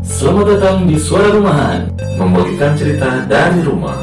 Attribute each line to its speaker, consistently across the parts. Speaker 1: Selamat datang di Suara Rumahan Membagikan cerita dari rumah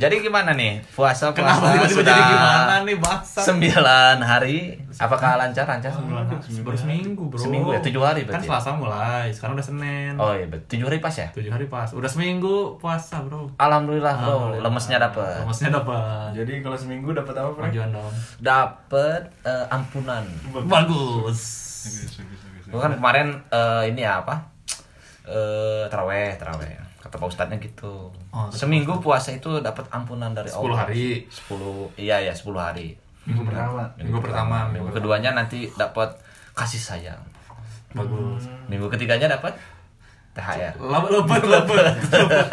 Speaker 2: Jadi gimana nih puasa puasa
Speaker 3: Kenapa tiba-tiba
Speaker 2: sudah
Speaker 3: jadi gimana nih bangsa?
Speaker 2: sembilan hari? Apakah lancar lancar
Speaker 3: Oh, Sembilan
Speaker 2: sembilan?
Speaker 3: hari, baru seminggu bro.
Speaker 2: Seminggu ya, tujuh hari
Speaker 3: Kan
Speaker 2: berarti.
Speaker 3: Selasa mulai, sekarang udah Senin.
Speaker 2: Oh iya betul tujuh hari pas ya.
Speaker 3: Tujuh hari pas, udah seminggu puasa bro.
Speaker 2: Alhamdulillah Ah, bro,
Speaker 3: Alhamdulillah.
Speaker 2: lemesnya dapet,
Speaker 3: Lemesnya dapat.
Speaker 4: Jadi kalau seminggu dapat apa, Frank?
Speaker 3: Majuan dong.
Speaker 2: dapet eh, ampunan.
Speaker 3: Bagus.
Speaker 4: Bagus, bagus, bagus.
Speaker 2: Gue kan kemarin eh, ini ya apa? Eh teraweh teraweh. Kata pak ustadznya gitu.
Speaker 3: Oh, kata
Speaker 2: Seminggu puasa itu dapat ampunan dari
Speaker 3: Sepuluh
Speaker 2: Allah.
Speaker 3: hari.
Speaker 2: Sepuluh iya ya sepuluh hari.
Speaker 4: Minggu pertama.
Speaker 3: Minggu pertama,
Speaker 2: Minggu keduanya nanti dapat kasih sayang.
Speaker 3: Bagus.
Speaker 2: Minggu ketiganya dapat THR.
Speaker 3: Lebat, lebat, lebat.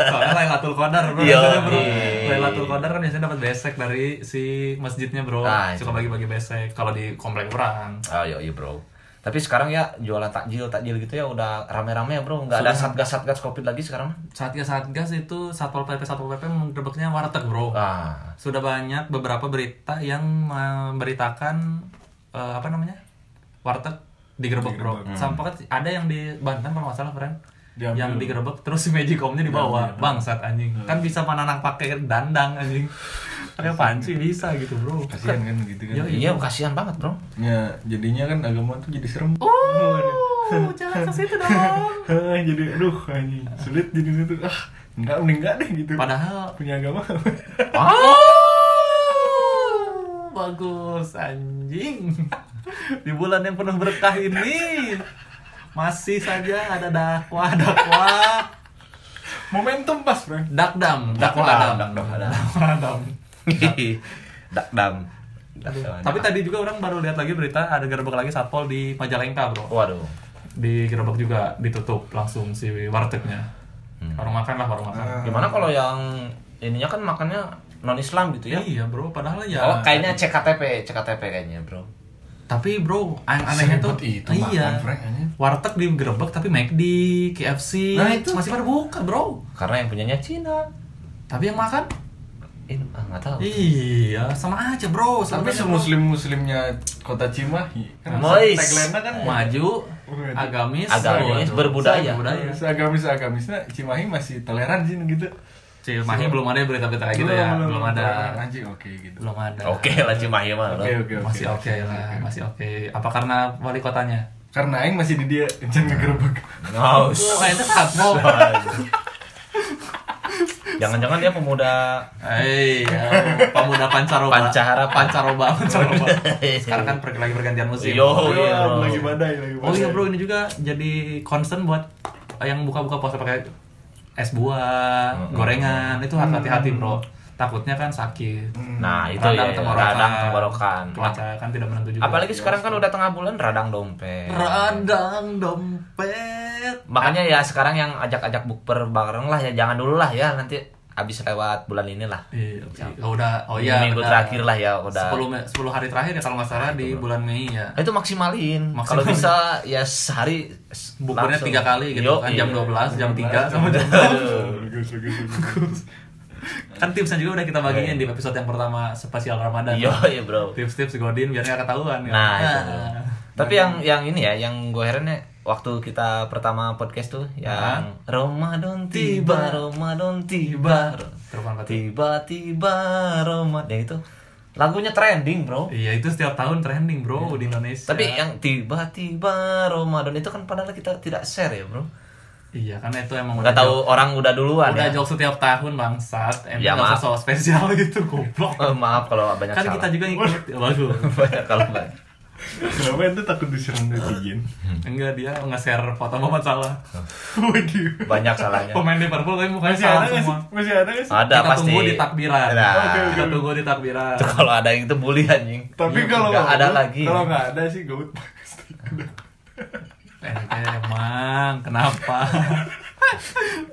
Speaker 3: Soalnya Lailatul Qadar bro.
Speaker 2: Iya,
Speaker 3: biasanya, bro.
Speaker 2: iya.
Speaker 3: Lailatul Qadar kan biasanya dapat besek dari si masjidnya bro.
Speaker 2: Nah,
Speaker 3: Suka bagi-bagi besek. Kalau di komplek orang.
Speaker 2: Oh iya, iya bro. Tapi sekarang ya jualan takjil takjil gitu ya udah rame-rame ya bro. Nggak ada satgas satgas covid lagi sekarang.
Speaker 3: Satgas Satgas itu Satpol PP Satpol PP menggerebeknya warteg bro.
Speaker 2: Ah,
Speaker 3: sudah banyak beberapa berita yang memberitakan eh, apa namanya warteg digerebek bro sampai kan ada yang di Banten kalau nggak salah friend
Speaker 4: Hmm. Diambil. ya. Hmm.
Speaker 3: yang digerebek terus si magicomnya dibawa bangsat anjing kan bisa mananang pakai dandang anjing pakai panci bisa gitu bro
Speaker 4: Kasihan kan gitu kan.
Speaker 2: iya kasihan banget bro.
Speaker 4: Ya, jadinya kan agama tuh jadi serem.
Speaker 3: oh jangan ke situ dong
Speaker 4: Hah, Ah, jadi aduh anjing. Sulit jadi situ. Ah, enggak mending enggak deh gitu.
Speaker 3: padahal
Speaker 4: punya agama.
Speaker 3: Oh, bagus anjing. Di bulan yang penuh berkah ini masih saja ada dakwah, dakwah,
Speaker 4: Momentum pas, Frank.
Speaker 3: dakdam,
Speaker 2: Dakdam,
Speaker 3: dakwah adam,
Speaker 2: dakdam, adam.
Speaker 3: dakwah adam.
Speaker 2: Dakdam.
Speaker 3: Tapi tadi juga orang baru lihat lagi berita ada gerbek lagi satpol di Majalengka bro.
Speaker 2: waduh.
Speaker 3: Di gerbek juga ditutup langsung si wartegnya.
Speaker 2: Hmm.
Speaker 3: Warung makan lah warung makan.
Speaker 2: Gimana kalau yang ininya kan makannya non Islam gitu ya?
Speaker 3: Iya bro, padahal ya.
Speaker 2: Oh, kayaknya CKTP, CKTP kayaknya bro.
Speaker 3: Tapi bro, yang anehnya tuh
Speaker 4: Seribet itu
Speaker 3: iya.
Speaker 4: makan, Frank, anjing.
Speaker 3: warteg digerebek tapi McD, KFC
Speaker 4: Nah, itu.
Speaker 3: masih pada buka, bro.
Speaker 2: Karena yang punyanya Cina.
Speaker 3: Tapi yang makan
Speaker 2: Eh, ah, nggak tahu.
Speaker 3: iya, sama aja, bro.
Speaker 4: Tapi
Speaker 3: Sampai
Speaker 4: semuslim-muslimnya kota Cimahi kan
Speaker 2: Mois.
Speaker 4: tagline-nya kan
Speaker 3: maju agamis,
Speaker 2: Agamis,
Speaker 3: waduh,
Speaker 2: berbudaya.
Speaker 3: berbudaya.
Speaker 4: seagamis-agamisnya Cimahi masih toleran sih gitu.
Speaker 3: Cimahi belum ada berita-berita kayak gitu ya, belum ada.
Speaker 4: Anjing oke gitu.
Speaker 3: Belum ada.
Speaker 2: Oke lah Cimahi mah. bro.
Speaker 4: Oke, oke, oke.
Speaker 3: Masih oke lah, masih oke. Apa karena wali kotanya?
Speaker 4: Karena aing masih di dia
Speaker 3: Nah.
Speaker 4: jangan ngegerebek.
Speaker 2: Ngaus.
Speaker 3: Oh, kayaknya satpol.
Speaker 2: Jangan-jangan dia pemuda
Speaker 3: Hei, pemuda pancaroba.
Speaker 2: Pancahara.
Speaker 3: pancaroba, pancaroba. Sekarang kan pergi lagi pergantian musim.
Speaker 2: Yo,
Speaker 3: oh,
Speaker 2: iya,
Speaker 3: iya.
Speaker 2: bro.
Speaker 4: lagi badai, lagi badai.
Speaker 3: Oh iya bro, ini juga jadi concern buat yang buka-buka puasa pakai es buah, gorengan, itu hati-hati bro. Takutnya kan sakit.
Speaker 2: Nah itu ya,
Speaker 3: Radang tenggorokan.
Speaker 2: radang tenggorokan.
Speaker 3: Cuaca kan tidak menentu juga.
Speaker 2: Apalagi sekarang kan udah tengah bulan radang dompet.
Speaker 3: radang dompet.
Speaker 2: Makanya ya sekarang yang ajak-ajak bukber bareng lah ya jangan dulu lah ya nanti abis lewat bulan ini lah.
Speaker 3: Iya, oke. Oh, udah, oh iya.
Speaker 2: Minggu
Speaker 3: benar.
Speaker 2: terakhir lah ya, udah.
Speaker 3: 10 me- 10 hari terakhir ya kalau nggak salah di bulan Mei ya.
Speaker 2: Nah, itu maksimalin.
Speaker 3: Maksimalin.
Speaker 2: Kalau bisa ya sehari s-
Speaker 3: Bukurnya
Speaker 2: langsung.
Speaker 3: tiga kali gitu
Speaker 2: Yo,
Speaker 3: kan
Speaker 2: iya.
Speaker 3: jam 12, jam 3 sama jam
Speaker 4: Bagus, bagus, bagus.
Speaker 3: kan tipsnya juga udah kita
Speaker 2: Iya.
Speaker 3: bagiin di episode yang pertama spesial Ramadan.
Speaker 2: Yo, iya, bro.
Speaker 3: Tips-tips godin biar nggak ketahuan ya.
Speaker 2: Nah, itu. Tapi yang yang ini ya yang gue herannya waktu kita pertama podcast tuh yang Ramadan tiba, Ramadan tiba.
Speaker 3: Terupan batu.
Speaker 2: Tiba-tiba Ramadan ya itu lagunya trending, Bro.
Speaker 3: Iya itu setiap tahun trending bro di
Speaker 2: Iya.
Speaker 3: Indonesia.
Speaker 2: Tapi yang tiba-tiba Ramadan itu kan padahal kita tidak share ya, Bro.
Speaker 3: iya karena itu emang
Speaker 2: Nggak
Speaker 3: jok-
Speaker 2: tahu orang udah duluan
Speaker 3: udah
Speaker 2: ya.
Speaker 3: jokes setiap tahun bangsat. Emang
Speaker 2: Ya,
Speaker 3: ya,
Speaker 2: maaf.
Speaker 3: sosok spesial gitu goblok.
Speaker 2: Eh, maaf kalau banyak
Speaker 3: kan
Speaker 2: salah.
Speaker 3: kita juga ngikut. Ya, Bagus.
Speaker 2: kalau banyak.
Speaker 4: Kenapa itu takut diserang netizen?
Speaker 2: Hmm.
Speaker 3: Enggak dia nge-share foto Muhammad Salah.
Speaker 4: Waduh.
Speaker 2: banyak salahnya.
Speaker 3: Pemain Liverpool tapi mukanya
Speaker 4: Masih ada
Speaker 3: salah
Speaker 4: nggak sih?
Speaker 3: semua.
Speaker 4: Masih ada nggak sih?
Speaker 2: Ada
Speaker 3: kita
Speaker 2: pasti.
Speaker 3: tunggu di takbiran.
Speaker 2: Nah,
Speaker 4: Oke, oke.
Speaker 3: Kita tunggu di takbiran.
Speaker 2: itu kalau ada yang itu bully anjing.
Speaker 4: Tapi kalau
Speaker 2: Iya, nggak ada lagi.
Speaker 4: Kalau nggak ada sih gaut pasti.
Speaker 3: Eh, Emang kenapa?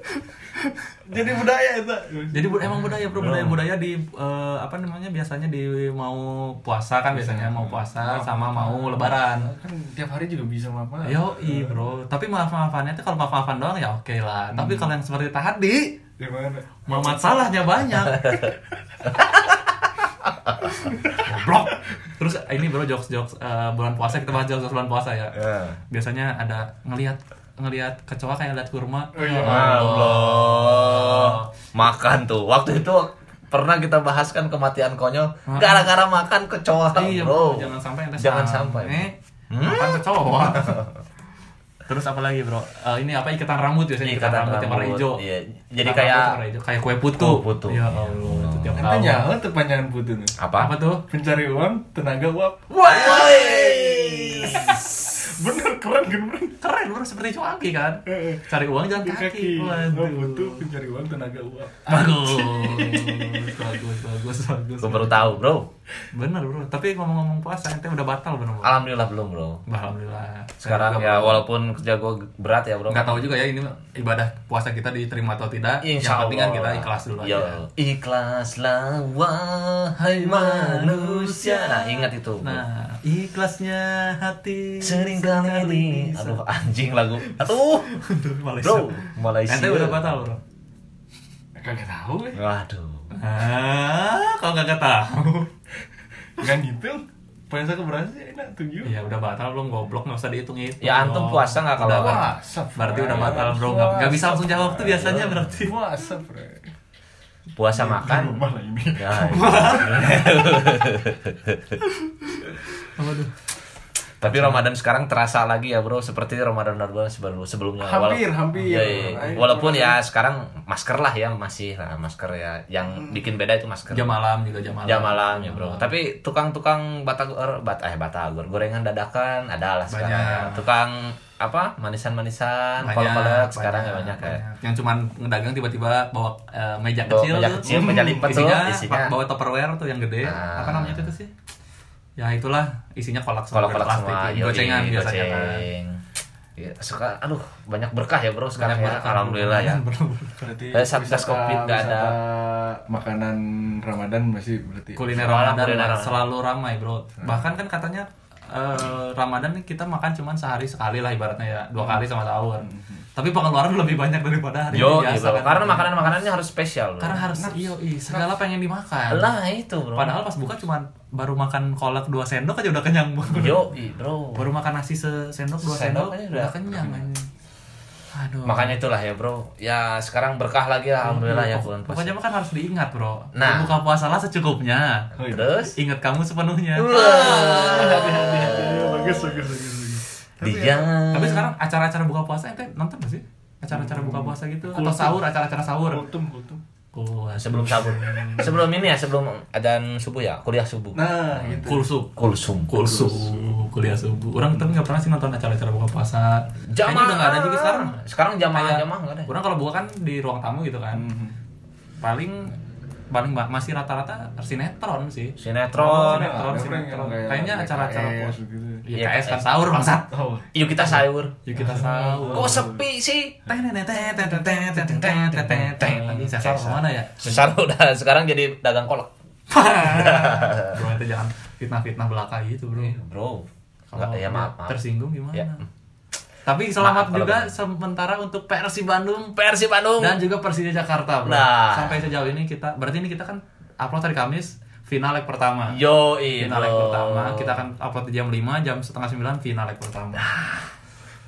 Speaker 4: Jadi budaya itu.
Speaker 3: Jadi bu- emang budaya bro budaya budaya di eh, apa namanya biasanya di mau puasa kan biasanya mau puasa Hmm. sama mau lebaran.
Speaker 4: kan tiap hari juga bisa apa?
Speaker 3: Yo i bro, tapi maaf maafannya tuh kalau maaf maafan doang ya oke lah. Tapi kalau yang
Speaker 4: Ya,
Speaker 3: seperti tadi Hmm.
Speaker 4: Gimana?
Speaker 3: Muhammad salahnya banyak. Goblok. Terus ini baru jokes-jokes eh, bulan puasa kita bahas jokes bulan puasa ya. Biasanya ada ngelihat ngelihat kecoa kayak lihat kurma.
Speaker 4: Oh iya.
Speaker 3: Ah,
Speaker 2: Allah. Makan tuh. Waktu itu pernah kita bahaskan kematian konyol gara-gara makan kecoa,
Speaker 3: Iya,
Speaker 2: bro.
Speaker 3: bro. Jangan sampai anda
Speaker 2: Jangan sampai. Hmm?
Speaker 3: Eh, makan kecoa. Terus apa lagi, Bro? Eh, ini apa ikatan rambut biasanya ikatan, rambut, yang warna hijau.
Speaker 2: Iya. Jadi
Speaker 3: Ikatan
Speaker 2: kayak
Speaker 3: rambut warna hijau. kayak kue putu.
Speaker 2: Kue putu.
Speaker 3: Ya Allah, itu tiap
Speaker 4: Kan
Speaker 3: tahun.
Speaker 4: nyaho tuh panjangan putih nih.
Speaker 2: apa?
Speaker 3: Apa tuh?
Speaker 4: Pencari uang, tenaga uap.
Speaker 2: Woi.
Speaker 4: Bener keren kan bener.
Speaker 3: Keren, Bro, seperti cuanki kan.
Speaker 4: Eh, eh.
Speaker 3: Cari uang jalan kaki.
Speaker 4: Kaki.
Speaker 3: Waduh.
Speaker 4: Oh, butuh pencari uang, tenaga uap.
Speaker 3: Bagus, bagus, bagus, bagus.
Speaker 2: Gue baru tahu, bro.
Speaker 3: Bener, Bro. Tapi ngomong-ngomong puasa, ente udah batal bener, Bro.
Speaker 2: Alhamdulillah belum, bro.
Speaker 3: Alhamdulillah.
Speaker 2: Ah. Sekarang ya walaupun kerja gue berat ya, bro.
Speaker 3: nggak tahu juga ya ini ibadah puasa kita diterima atau tidak.
Speaker 2: Insya
Speaker 3: Yang penting kan kita
Speaker 2: Allah. Iya.
Speaker 3: ikhlas dulu
Speaker 2: Yo.
Speaker 3: aja.
Speaker 2: Ikhlaslah wahai manusia. Nah, ingat itu. Bro.
Speaker 3: Nah, ikhlasnya hati
Speaker 2: Sering kali
Speaker 3: bisa.
Speaker 2: Aduh, anjing lagu. Aduh.
Speaker 3: Aduh, Malaysia.
Speaker 2: Bro, Malaysia.
Speaker 3: Ente udah batal, Bro.
Speaker 4: Kagak tahu eh.
Speaker 2: Waduh.
Speaker 3: Ah, kalau kagak tahu.
Speaker 4: Kan gitu. Puasa keberasa enak tujuh.
Speaker 3: Ya udah batal belum goblok nggak usah dihitung itu.
Speaker 2: Ya,
Speaker 4: Oh.
Speaker 2: antum puasa nggak kalau-
Speaker 4: Puasa,
Speaker 3: Berarti
Speaker 4: Fred.
Speaker 3: udah batal, Bro. Nggak nggak bisa langsung jawab tuh
Speaker 2: Iya.
Speaker 3: biasanya berarti.
Speaker 4: Puasa, Fred.
Speaker 2: Puasa
Speaker 4: Kan
Speaker 2: makan.
Speaker 4: rumah lah ini.
Speaker 2: Ya.
Speaker 3: Waduh.
Speaker 2: Tapi Ramadan sekarang terasa lagi ya bro, seperti Ramadan Ramadan sebelum sebelumnya.
Speaker 4: Hampir, hampir.
Speaker 2: Iya, iya.
Speaker 4: Ayo,
Speaker 2: Walaupun ya
Speaker 4: kurang.
Speaker 2: sekarang masker lah ya masih lah, masker ya, yang
Speaker 4: Hmm.
Speaker 2: bikin beda itu masker.
Speaker 3: Jam malam juga jam malam.
Speaker 2: Jam malam ya bro. Tapi tukang-tukang batagor, bat eh batagor, gorengan dadakan ada lah sekarang. ya.
Speaker 3: Banyak.
Speaker 2: Tukang apa manisan-manisan, kolak-kolak Kan sekarang ya banyak ya.
Speaker 3: banyak. Yang cuman ngedagang tiba-tiba bawa eh, meja
Speaker 2: Bawa
Speaker 3: kecil.
Speaker 2: meja
Speaker 3: tuh.
Speaker 2: kecil,
Speaker 3: Hmm.
Speaker 2: meja lipat tuh,
Speaker 3: isinya,
Speaker 2: isinya.
Speaker 3: pak- bawa tupperware tuh yang gede.
Speaker 2: Nah.
Speaker 3: Apa namanya itu tuh sih? Ya itulah isinya kolak sama
Speaker 2: Kolak-kolak
Speaker 3: plastik.
Speaker 2: semua, yoi,
Speaker 3: Gocengan biasanya kan.
Speaker 2: goceng. Iya, suka aduh banyak berkah ya bro
Speaker 3: Banyak
Speaker 2: sekarang ya.
Speaker 3: berkah.
Speaker 2: Alhamdulillah ya.
Speaker 4: Berarti
Speaker 2: Eh, Satgas
Speaker 4: wisata-
Speaker 2: Covid nggak ada.
Speaker 4: wisata Makanan Ramadan masih berarti.
Speaker 3: Kuliner
Speaker 2: Selalu
Speaker 3: Ramadan
Speaker 2: kuliner
Speaker 3: lah,
Speaker 2: Ramadan. Hmm.
Speaker 3: selalu ramai bro. Bahkan kan katanya eh, Ramadan nih kita makan cuman sehari sekali lah ibaratnya ya dua kali sama sahur. Tapi pengeluaran lebih banyak daripada hari
Speaker 2: Yo,
Speaker 3: biasa.
Speaker 2: iya, Hmm. bro.
Speaker 3: kan.
Speaker 2: karena makanan-makanannya harus spesial. bro.
Speaker 3: karena harus iyo ih, segala pengen dimakan.
Speaker 2: lah itu bro.
Speaker 3: Padahal pas buka cuman baru makan kolak 2 sendok aja udah kenyang banget.
Speaker 2: yo i, bro.
Speaker 3: Baru makan nasi sesendok
Speaker 2: Iya.
Speaker 3: 2
Speaker 2: Sendok
Speaker 3: sendok
Speaker 2: aja
Speaker 3: udah,
Speaker 2: udah
Speaker 3: kenyang anjing. Aduh.
Speaker 2: Makanya itulah ya bro. Ya sekarang berkah lagi lah, alhamdulillah ya bulan puasa.
Speaker 3: Pokoknya makan harus diingat, Bro.
Speaker 2: Nah.
Speaker 3: Buka puasa lah secukupnya.
Speaker 4: Oh, iya.
Speaker 2: Terus
Speaker 3: Ingat kamu sepenuhnya.
Speaker 4: Iya, bagus, bagus, bagus, bagus.
Speaker 2: dia.
Speaker 3: Tapi sekarang acara-acara buka puasa ente nonton gak sih? Acara-acara buka puasa gitu atau
Speaker 4: Kultum.
Speaker 3: sahur, acara-acara sahur.
Speaker 4: Kultum, kultum.
Speaker 3: Puasa.
Speaker 2: sebelum sabun, sebelum ini ya sebelum adzan subuh ya kuliah subuh.
Speaker 4: Nah, gitu.
Speaker 3: Kulsum.
Speaker 2: Kulsum.
Speaker 3: Kulsum. Kuliah subuh. Orang tapi nggak pernah sih nonton acara-acara buka puasa. Kayaknya
Speaker 2: Jamaah.
Speaker 3: udah nggak ada juga sekarang.
Speaker 2: Sekarang jamaah
Speaker 3: Kayak-
Speaker 2: jamaah nggak ada.
Speaker 3: Orang kalau buka kan di ruang tamu gitu kan. Paling paling ba- masih rata-rata sinetron sih.
Speaker 2: Sinetron.
Speaker 3: sinetron,
Speaker 4: Ada
Speaker 3: sinetron.
Speaker 4: yang kayak
Speaker 3: Kayaknya acara-acara
Speaker 4: PKS
Speaker 3: puasa.
Speaker 4: gitu.
Speaker 3: Ya,
Speaker 2: Iya,
Speaker 3: KS kan
Speaker 2: KS.
Speaker 3: sahur bangsat.
Speaker 4: Oh,
Speaker 2: Yuk kita sahur.
Speaker 3: Yuk Ya, kita sahur.
Speaker 2: Kok sepi sih?
Speaker 3: Ini sasar kemana ya?
Speaker 2: Sekarang udah sekarang jadi dagang kolak.
Speaker 3: bro, itu jangan fitnah-fitnah belaka gitu, bro.
Speaker 2: Bro. Enggak
Speaker 3: Kalau
Speaker 2: Iya. ya maaf. maaf.
Speaker 3: tersinggung gimana?
Speaker 2: Ya.
Speaker 3: Tapi
Speaker 2: Maaf
Speaker 3: selamat
Speaker 2: kalau
Speaker 3: juga sementara untuk Persib Bandung
Speaker 2: Persib Bandung.
Speaker 3: dan juga Persija Jakarta, bro.
Speaker 2: Nah.
Speaker 3: Sampai sejauh ini kita, berarti ini kita kan upload hari Kamis final leg pertama.
Speaker 2: Yo, i,
Speaker 3: Final leg
Speaker 2: bro.
Speaker 3: pertama, kita akan upload di jam 5, jam setengah 9 final leg pertama.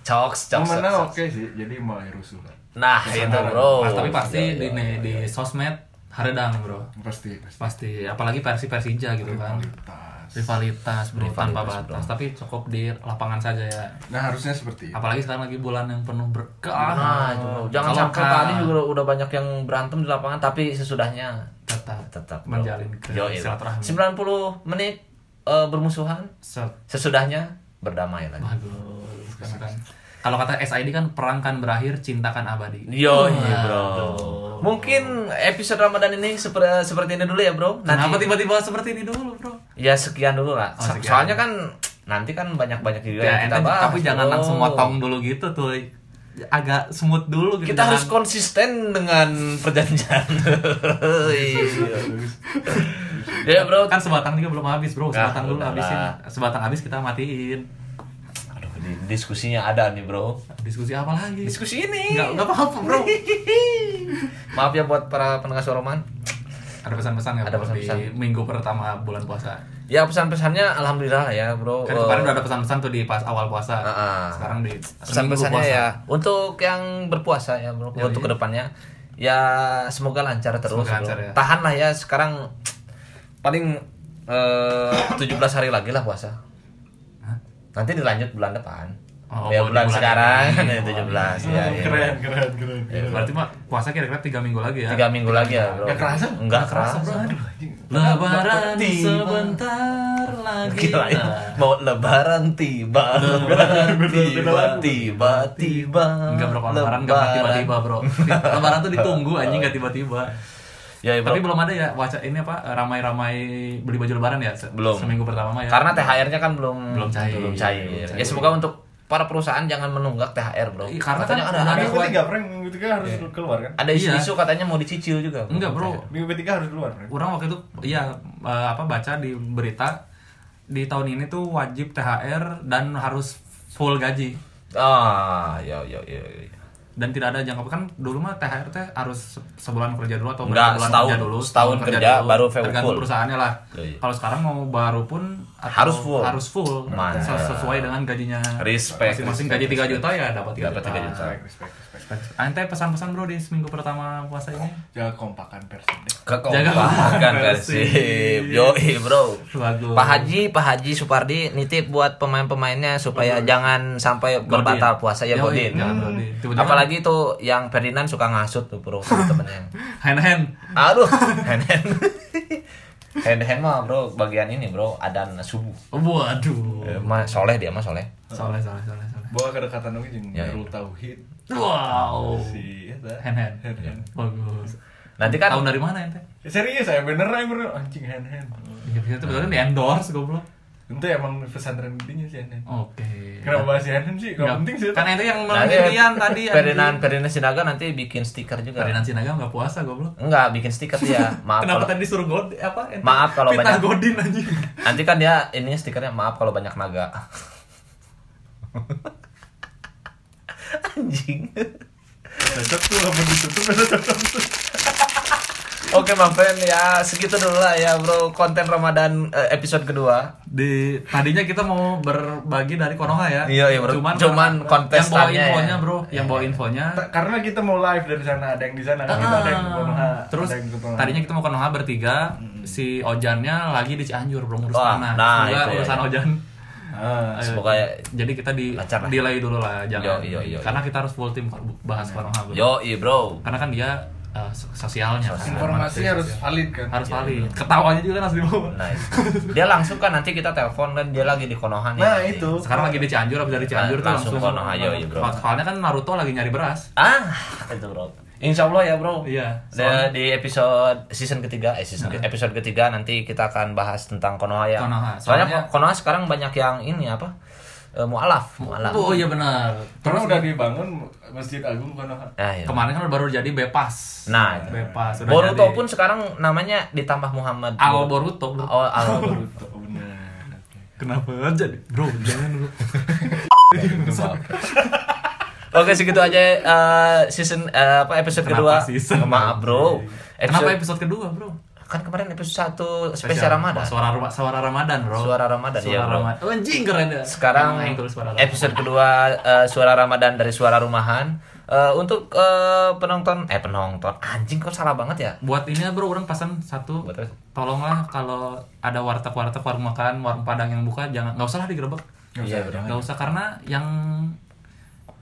Speaker 2: Coks, coks,
Speaker 4: Momennya
Speaker 2: coks, coks.
Speaker 4: oke sih, jadi mulai rusuh lah.
Speaker 2: Nah, itu bro.
Speaker 3: Pas- tapi pasti
Speaker 2: Yo, yo,
Speaker 3: di,
Speaker 2: yo.
Speaker 3: di sosmed haredang, bro.
Speaker 4: Pasti, pasti.
Speaker 3: Pasti, apalagi Persib Persija gitu kan.
Speaker 4: Kualitas.
Speaker 3: rivalitas bro
Speaker 2: Rivalitas,
Speaker 3: tanpa
Speaker 2: bro.
Speaker 3: batas tapi cukup di lapangan saja ya
Speaker 4: Nah, harusnya seperti itu.
Speaker 3: apalagi sekarang lagi bulan yang penuh berkah
Speaker 2: Nah, itu bro. Jangan
Speaker 3: Kalau
Speaker 2: sampai
Speaker 3: kan
Speaker 2: tadi juga udah banyak yang berantem di lapangan tapi sesudahnya
Speaker 3: tetap
Speaker 2: tetap bro.
Speaker 3: menjalin ke
Speaker 2: Yo, yo.
Speaker 3: silaturahmi
Speaker 2: 90 menit eh, bermusuhan,
Speaker 3: Set.
Speaker 2: sesudahnya berdamai lagi.
Speaker 3: bagus Karena kan kalau kata SID kan perang kan berakhir cintakan abadi
Speaker 2: Yo, iya, bro.
Speaker 3: Waduh.
Speaker 2: Mungkin episode Ramadan ini seper- seperti ini dulu ya, bro.
Speaker 3: kenapa tiba-tiba seperti ini dulu bro
Speaker 2: Ya sekian dulu lah.
Speaker 3: Oh,
Speaker 2: So-
Speaker 3: sekian.
Speaker 2: Soalnya kan nanti kan banyak-banyak juga
Speaker 3: ya,
Speaker 2: yang kita
Speaker 3: ente,
Speaker 2: bahas.
Speaker 3: tapi jangan
Speaker 2: bro.
Speaker 3: langsung motong dulu gitu tuh agak smooth dulu gitu
Speaker 2: Kita
Speaker 3: jangan-
Speaker 2: harus konsisten dengan perjanjian. Iya. ya bro.
Speaker 3: kan sebatang juga belum habis bro
Speaker 2: Nah,
Speaker 3: sebatang dulu
Speaker 2: udah
Speaker 3: habisin
Speaker 2: lah.
Speaker 3: sebatang habis kita matiin
Speaker 2: Aduh, di- diskusinya ada nih bro.
Speaker 3: diskusi apa lagi
Speaker 2: Diskusi ini.
Speaker 3: nggak nggak apa-apa bro
Speaker 2: Maaf ya buat para pendengar suara roman.
Speaker 3: Ada pesan-pesan nggak
Speaker 2: Ada
Speaker 3: Bro,
Speaker 2: pesan-pesan.
Speaker 3: di minggu pertama bulan puasa?
Speaker 2: Ya pesan-pesannya alhamdulillah lah ya bro. Eh,
Speaker 3: Kan kemarin udah ada pesan-pesan tuh di pas awal puasa.
Speaker 2: Ah, ah.
Speaker 3: Sekarang di
Speaker 2: pesan-pesannya
Speaker 3: minggu puasa.
Speaker 2: ya untuk yang berpuasa ya bro.
Speaker 3: Yoi.
Speaker 2: Untuk kedepannya ya semoga lancar terus.
Speaker 3: Semoga
Speaker 2: bro.
Speaker 3: lancar ya.
Speaker 2: Tahan lah ya sekarang paling eh, 17 hari lagi lah puasa.
Speaker 3: Hah?
Speaker 2: Nanti dilanjut bulan depan.
Speaker 3: Oh,
Speaker 2: ya bulan,
Speaker 3: bulan- bulan
Speaker 2: sekarang
Speaker 3: ini.
Speaker 2: ya,
Speaker 3: Oh, Iya,
Speaker 2: 17 ya. ya.
Speaker 4: keren, keren, keren, keren.
Speaker 3: Berarti mah puasa kira-kira 3 minggu lagi ya.
Speaker 2: Tiga minggu lagi ya bro.
Speaker 4: Nggak kerasa?
Speaker 2: Enggak
Speaker 4: Nggak
Speaker 2: kerasa.
Speaker 4: bro. Aduh, anjing.
Speaker 3: Lebaran
Speaker 2: Tiba. ya.
Speaker 3: sebentar lagi.
Speaker 2: Kirain mau lebaran tiba, lebaran tiba, tiba, tiba.
Speaker 3: Enggak bro, kalau lebaran enggak pernah tiba-tiba bro Lebaran tuh ditunggu anjing enggak tiba-tiba
Speaker 2: Ya, bro.
Speaker 3: Tapi belum ada ya wacana ini apa ramai-ramai beli baju lebaran ya se-
Speaker 2: Belum.
Speaker 3: seminggu pertama mah ya.
Speaker 2: Karena THR-nya kan belum
Speaker 3: Belum cair.
Speaker 2: Belum cair.
Speaker 3: Belum cair.
Speaker 2: Ya semoga untuk para perusahaan jangan menunggak THR, Bro.
Speaker 3: Iya, karena
Speaker 2: katanya
Speaker 3: kan
Speaker 2: ada
Speaker 3: ada
Speaker 2: ada,
Speaker 4: Minggu ketiga, Frank, minggu ketiga harus keluar kan?
Speaker 2: ada isu,
Speaker 3: Iya.
Speaker 2: isu katanya mau dicicil juga.
Speaker 3: enggak bro.
Speaker 4: Minggu ketiga harus keluar, Frank.
Speaker 3: Orang waktu itu iya eh, apa baca di berita di tahun ini tuh wajib THR dan harus full gaji
Speaker 2: Ah, ya ya ya. ya.
Speaker 3: dan tidak ada jangka kan dulu mah THR teh harus se- sebulan kerja dulu atau
Speaker 2: Enggak,
Speaker 3: berapa bulan
Speaker 2: setahun.
Speaker 3: kerja dulu
Speaker 2: Setahun kerja, baru full.
Speaker 3: tergantung perusahaannya lah
Speaker 2: Iya, iya.
Speaker 3: kalau sekarang mau baru pun atau
Speaker 2: Harus full.
Speaker 3: harus full
Speaker 2: Mantap.
Speaker 3: ses- sesuai dengan gajinya
Speaker 2: Respect,
Speaker 3: masing-masing gaji 3 juta ya dapat 3
Speaker 2: Dapat
Speaker 3: juta,
Speaker 2: tiga juta.
Speaker 4: Respect, respect, respect.
Speaker 3: Ante pesan-pesan bro di seminggu pertama puasa ini
Speaker 4: Jaga kompakan Persib deh.
Speaker 3: Jaga
Speaker 2: Kekompakan
Speaker 3: Persib.
Speaker 2: Persib. Yoi, Bro.
Speaker 3: Bagus.
Speaker 2: Pak Haji, Pak Haji Supardi nitip buat pemain-pemainnya supaya jangan sampai berbatal puasa ya
Speaker 3: Yoi,
Speaker 2: Godin.
Speaker 3: jangan Godin. Tiba-tiba-
Speaker 2: Apalagi tuh yang Ferdinand suka ngasut tuh, Bro, sama temennya.
Speaker 3: hand hand
Speaker 2: Aduh, hand hand. hand hand mah bro, bagian ini bro, adan subuh.
Speaker 3: Oh, waduh
Speaker 2: Eh, mah soleh dia mah soleh.
Speaker 3: soleh soleh soleh soleh
Speaker 4: Bawa kedekatan lagi jeung
Speaker 2: Ya, ya.
Speaker 4: Nurul Tauhid.
Speaker 3: wow
Speaker 4: Si eta.
Speaker 3: hand hand
Speaker 4: Hand hand.
Speaker 3: bagus
Speaker 2: Nanti
Speaker 3: tahu
Speaker 2: kan
Speaker 3: dari mana ente Iya,
Speaker 4: Eh, Serius, saya bener aja bener anjing hand hand.
Speaker 3: itu betul di endorse goblok
Speaker 4: Itu emang pesantren gedenya sih hand hand.
Speaker 3: oke
Speaker 4: Kenapa bahas si hand hand sih? Gak penting sih. itu.
Speaker 3: Kan itu yang
Speaker 2: nanti
Speaker 3: menentukan tadi
Speaker 2: Nah, iya. Ferdinand Ferdinand Sinaga nanti bikin stiker juga.
Speaker 3: Ferdinand Sinaga nggak puasa goblok.
Speaker 2: Enggak, bikin stiker dia. Maaf
Speaker 3: Kenapa
Speaker 2: kalau
Speaker 3: tadi disuruh god apa? ente?
Speaker 2: Maaf kalau
Speaker 3: Fitnah
Speaker 2: banyak-
Speaker 3: Godin anjing.
Speaker 2: nanti kan dia ini stikernya maaf kalau banyak naga. Anjing.
Speaker 4: Cocok tuh apa ditutup itu cocok tuh.
Speaker 2: Oke, my friend ya segitu dulu lah ya bro konten Ramadan eh, episode kedua.
Speaker 3: Di tadinya kita mau berbagi dari Konoha ya.
Speaker 2: Iya, iya, bro.
Speaker 3: Cuman
Speaker 2: Cuman
Speaker 3: yang bawa
Speaker 2: kontestannya
Speaker 3: infonya,
Speaker 2: ya.
Speaker 3: Bro, yang bawa infonya.
Speaker 4: Ta- Nah, Karena kita mau live dari sana, ada yang di sana, kan. kita ada yang di Konoha,
Speaker 3: Ah. Nah, Terus
Speaker 4: ada yang di Konoha.
Speaker 3: tadinya kita mau Konoha bertiga, si Ojannya lagi di Cianjur, belum urus
Speaker 2: Wah,
Speaker 3: tanah.
Speaker 2: nah,
Speaker 3: Semoga
Speaker 2: itu ya.
Speaker 3: urusan Ojan.
Speaker 4: Ah,
Speaker 3: eh,
Speaker 2: Semoga ya-
Speaker 3: jadi kita di
Speaker 2: lancar lah.
Speaker 3: delay dulu lah jangan.
Speaker 2: Yo, yo, yo, yo.
Speaker 3: Karena kita harus full tim kalau bahas Konoha. Bro.
Speaker 2: Yo, bro.
Speaker 3: Karena kan dia eh, sosialnya. kan.
Speaker 4: informasi harus valid kan.
Speaker 3: harus valid ketawanya juga kan harus dibawa
Speaker 2: Iya, Nah, dia langsung kan nanti kita telepon dan dia lagi di ya. Konoha nih.
Speaker 4: Nah, itu.
Speaker 3: sekarang lagi di Cianjur abis dari Cianjur tuh
Speaker 2: Nah, Langsung
Speaker 3: langsung
Speaker 2: Konoha, yo, iya, bro.
Speaker 3: soalnya kan Naruto lagi nyari beras
Speaker 2: Ah, itu bro. Insya Allah ya bro.
Speaker 3: Iya, Nah.
Speaker 2: Da- Di episode season ketiga, eh season ke- episode ketiga nanti kita akan bahas tentang Konoha ya.
Speaker 3: Konoha,
Speaker 2: Soalnya,
Speaker 3: soalnya-
Speaker 2: Konoha sekarang banyak yang ini apa? Eh, mualaf, mualaf.
Speaker 3: oh iya benar
Speaker 4: Karena
Speaker 3: kan?
Speaker 4: udah dibangun Masjid Agung Konoha.
Speaker 2: Nah, iya.
Speaker 3: kemarin kan baru jadi Bepas
Speaker 2: Nah, itu.
Speaker 3: Bepas udah
Speaker 2: Boruto
Speaker 3: jadi.
Speaker 2: pun sekarang namanya ditambah Muhammad.
Speaker 3: Al Boruto bro.
Speaker 2: Oh, Al
Speaker 3: Iya,
Speaker 2: Boruto.
Speaker 4: Oh, bener.
Speaker 3: kenapa jadi bro jangan bro
Speaker 2: Oke segitu aja eh, season eh, apa episode kedua.
Speaker 3: Kenapa season?
Speaker 2: Maaf bro. Episode,
Speaker 3: kenapa episode kedua bro
Speaker 2: kan kemarin episode satu spesial Eh, Ramadan.
Speaker 3: suara suara Ramadan bro
Speaker 2: Suara Ramadan,
Speaker 3: suara
Speaker 2: iya, bro.
Speaker 3: Ramadan oh, anjing keren ya
Speaker 2: Sekarang
Speaker 3: Emang angle suara Ramadan.
Speaker 2: episode kedua eh, suara Ramadan dari suara rumahan. Eh, untuk eh, penonton eh penonton anjing kok salah banget ya.
Speaker 3: buat ini ya, bro orang pesan satu
Speaker 2: Buat apa?
Speaker 3: tolonglah kalau ada warteg warteg warung makan warung padang yang buka jangan nggak usah lah digerebek
Speaker 2: Iya, bro.
Speaker 3: nggak usah karena yang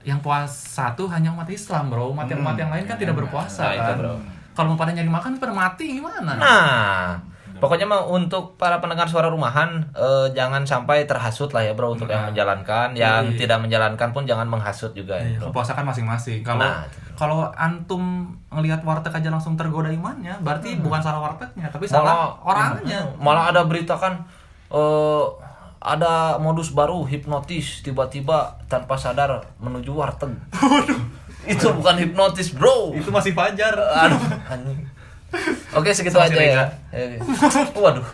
Speaker 3: yang puasa satu hanya umat Islam bro umat yang umat yang lain kan tidak berpuasa
Speaker 2: Nah, itu,
Speaker 3: kan
Speaker 2: bro.
Speaker 3: kalau mau pada nyari makan pada mati gimana
Speaker 2: Nah, pokoknya mah untuk para pendengar suara rumahan eh, jangan sampai terhasut lah ya bro untuk yang menjalankan, yang
Speaker 3: Nah. Iya.
Speaker 2: tidak menjalankan pun jangan menghasut juga ya
Speaker 3: Iya,
Speaker 2: bro.
Speaker 3: kepuasakan masing-masing kalau
Speaker 2: Nah, itu,
Speaker 3: kalau antum ngelihat warteg aja langsung tergoda imannya berarti bukan salah wartegnya tapi
Speaker 2: Malah-
Speaker 3: salah orangnya
Speaker 2: Malah ada berita kan eh, ada modus baru hipnotis tiba-tiba tanpa sadar menuju warteg. Itu bukan hipnotis, Bro.
Speaker 3: Oh. itu masih fajar
Speaker 2: Aduh, anjing. Oke, segitu
Speaker 3: Sama
Speaker 2: aja
Speaker 3: si
Speaker 2: ya.
Speaker 3: Rega.
Speaker 2: Oke. Waduh.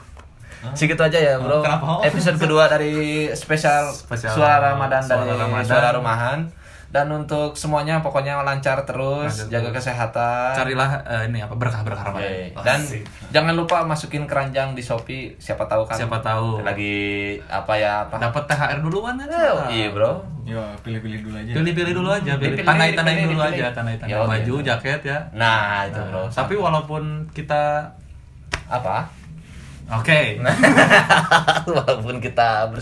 Speaker 2: Segitu aja ya, Bro.
Speaker 3: Kenapa? Oh.
Speaker 2: Episode kedua dari spesial,
Speaker 3: Spesial
Speaker 2: suara Ramadan
Speaker 3: Suara
Speaker 2: dari
Speaker 3: Ramadan.
Speaker 2: suara rumahan. Dan untuk semuanya pokoknya lancar terus,
Speaker 3: Lancar
Speaker 2: jaga
Speaker 3: terus.
Speaker 2: kesehatan.
Speaker 3: Carilah eh, ini apa ya? berkah-berkah Ramadan.
Speaker 2: Oke. Iya, Dan jangan lupa masukin keranjang di Shopee, siapa tahu kan.
Speaker 3: Siapa tahu.
Speaker 2: Lagi apa ya apa?
Speaker 3: Dapat THR duluan aja.
Speaker 2: Oh, Iya, Bro.
Speaker 4: Ya, pilih-pilih dulu aja.
Speaker 3: Pilih-pilih dulu aja, pilih
Speaker 2: Dipilih,
Speaker 3: tandai-tandain
Speaker 2: dipilih,
Speaker 3: dulu
Speaker 2: dipilih.
Speaker 3: aja, tandai-tandain
Speaker 2: Ya, oke.
Speaker 3: baju, jaket ya.
Speaker 2: Nah, itu Bro.
Speaker 3: Tapi walaupun kita
Speaker 2: apa?
Speaker 3: oke,
Speaker 2: Walaupun kita